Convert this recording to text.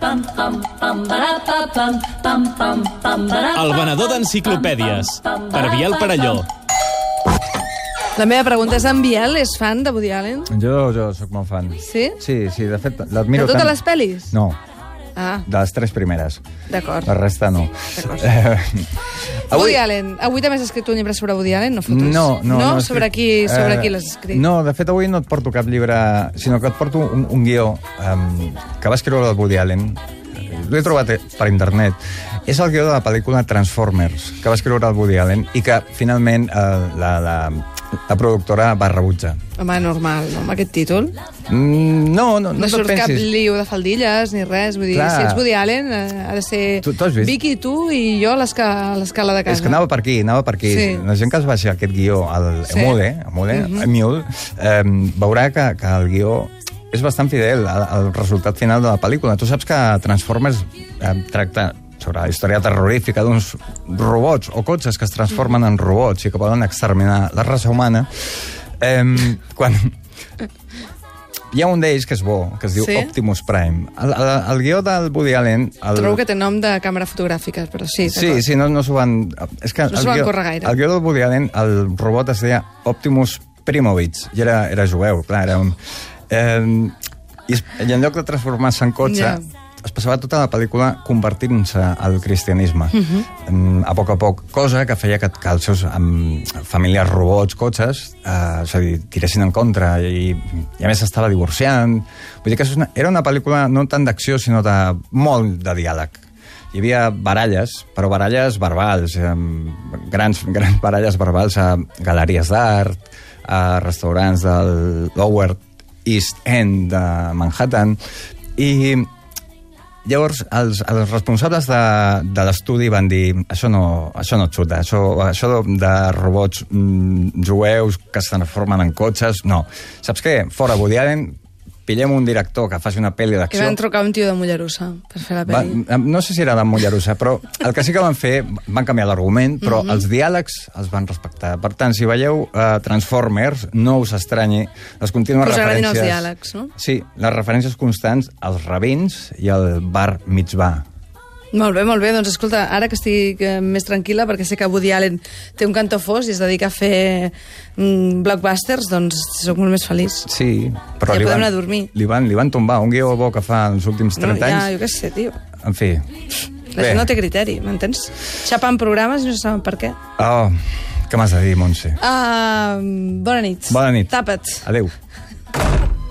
pam, pam, pam, bara, pa, pam, pam, pam, pam, bara, El venedor d'enciclopèdies, per Biel Parelló. La meva pregunta és, en Biel és fan de Woody Allen? Jo, jo sóc molt fan. Sí? Sí, sí, de fet, l'admiro De totes tant. les pel·lis? No, Ah, de les tres primeres. d'acord. La resta no. D'acord. Eh, Woody Allen. Avui també has escrit un llibre sobre Woody Allen, no fotos? No, no, No? no sobre, qui, escric- sobre eh, qui l'has escrit? No, de fet, avui no et porto cap llibre, sinó que et porto un, un guió um, que va escriure el Woody Allen. L'he trobat eh, per internet. És el guió de la pel·lícula Transformers, que va escriure el Woody Allen i que, finalment, eh, la, la, la productora va rebutjar. Home, normal, no? amb aquest títol. Mm, no, no, no, No, te'l surt cap pensis. liu de faldilles ni res. Vull dir, Clar. si ets Woody Allen, eh, ha de ser Tu- tu has vist? Vicky, tu i jo a l'esca- a l'escala de casa. És que anava per aquí, anava per aquí. Sí. Sí. La gent que es va ser aquest guió, Sí. el Mhm. sí. Emude, Emude, mm -hmm. Emule, eh, veurà que, que el guió és bastant fidel al, al resultat final de la pel·lícula. Tu saps que Transformers eh, tracta sobre la història terrorífica d'uns robots o cotxes que es transformen en robots i que poden exterminar la raça humana. Eh, quan, hi ha un d'ells que és bo, que es diu Sí? sí? Optimus Prime. El, el, el guió del Woody Allen... El... Trobo que té nom de càmera fotogràfica, però sí. Sí, d'acord. sí, no, no s'ho van... És que No s'ho van córrer gaire. El guió del Woody Allen, el robot es deia Optimus Primovich, i era, era jueu, clar, era un... Eh, i, es, I en lloc de transformar-se en cotxe, Ja. es passava tota la pel·lícula convertint-se al cristianisme, mm, a poc a poc, cosa que feia que, que els seus um, familiars robots, cotxes, eh, és a dir, tiressin en contra, i, i a més estava divorciant. Vull dir que és una, era una pel·lícula no tant d'acció, sinó de molt de diàleg hi havia baralles, però baralles verbals, eh, grans, grans baralles verbals a galeries d'art, a restaurants del Lower East End de Manhattan, i llavors els, els responsables de, de l'estudi van dir això no, això no xuta, això, això de robots mm, jueus que es transformen en cotxes, no. Saps què? Fora Woody Allen, pillem un director que faci una pel·li I d'acció... van trucar un tio de Mollerussa per fer la Va, pel·li. no sé si era de Mollerussa, però el que sí que van fer, van canviar l'argument, però Mhm. els diàlegs els van respectar. Per tant, si veieu eh, Transformers, no us estranyi les contínues Que us agradin referències... els diàlegs, no? Sí, les referències constants als rabins i al bar mitzvà. Molt bé, molt bé. Doncs escolta, ara que estic eh, més tranquil·la, perquè sé que Woody Allen té un cantó fos i es dedica a fer mm, blockbusters, doncs sóc molt més feliç. Sí, però Ja li, podem van, anar a dormir. li, van, li van tombar un guió bo que fa els últims 30 ja, anys. jo què sé, tio. En fi... La gent no té criteri, m'entens? Xapen programes i no saben per què. Oh, què m'has de dir, Montse? Uh, bona nit. Bona nit. Tapa't. Adéu.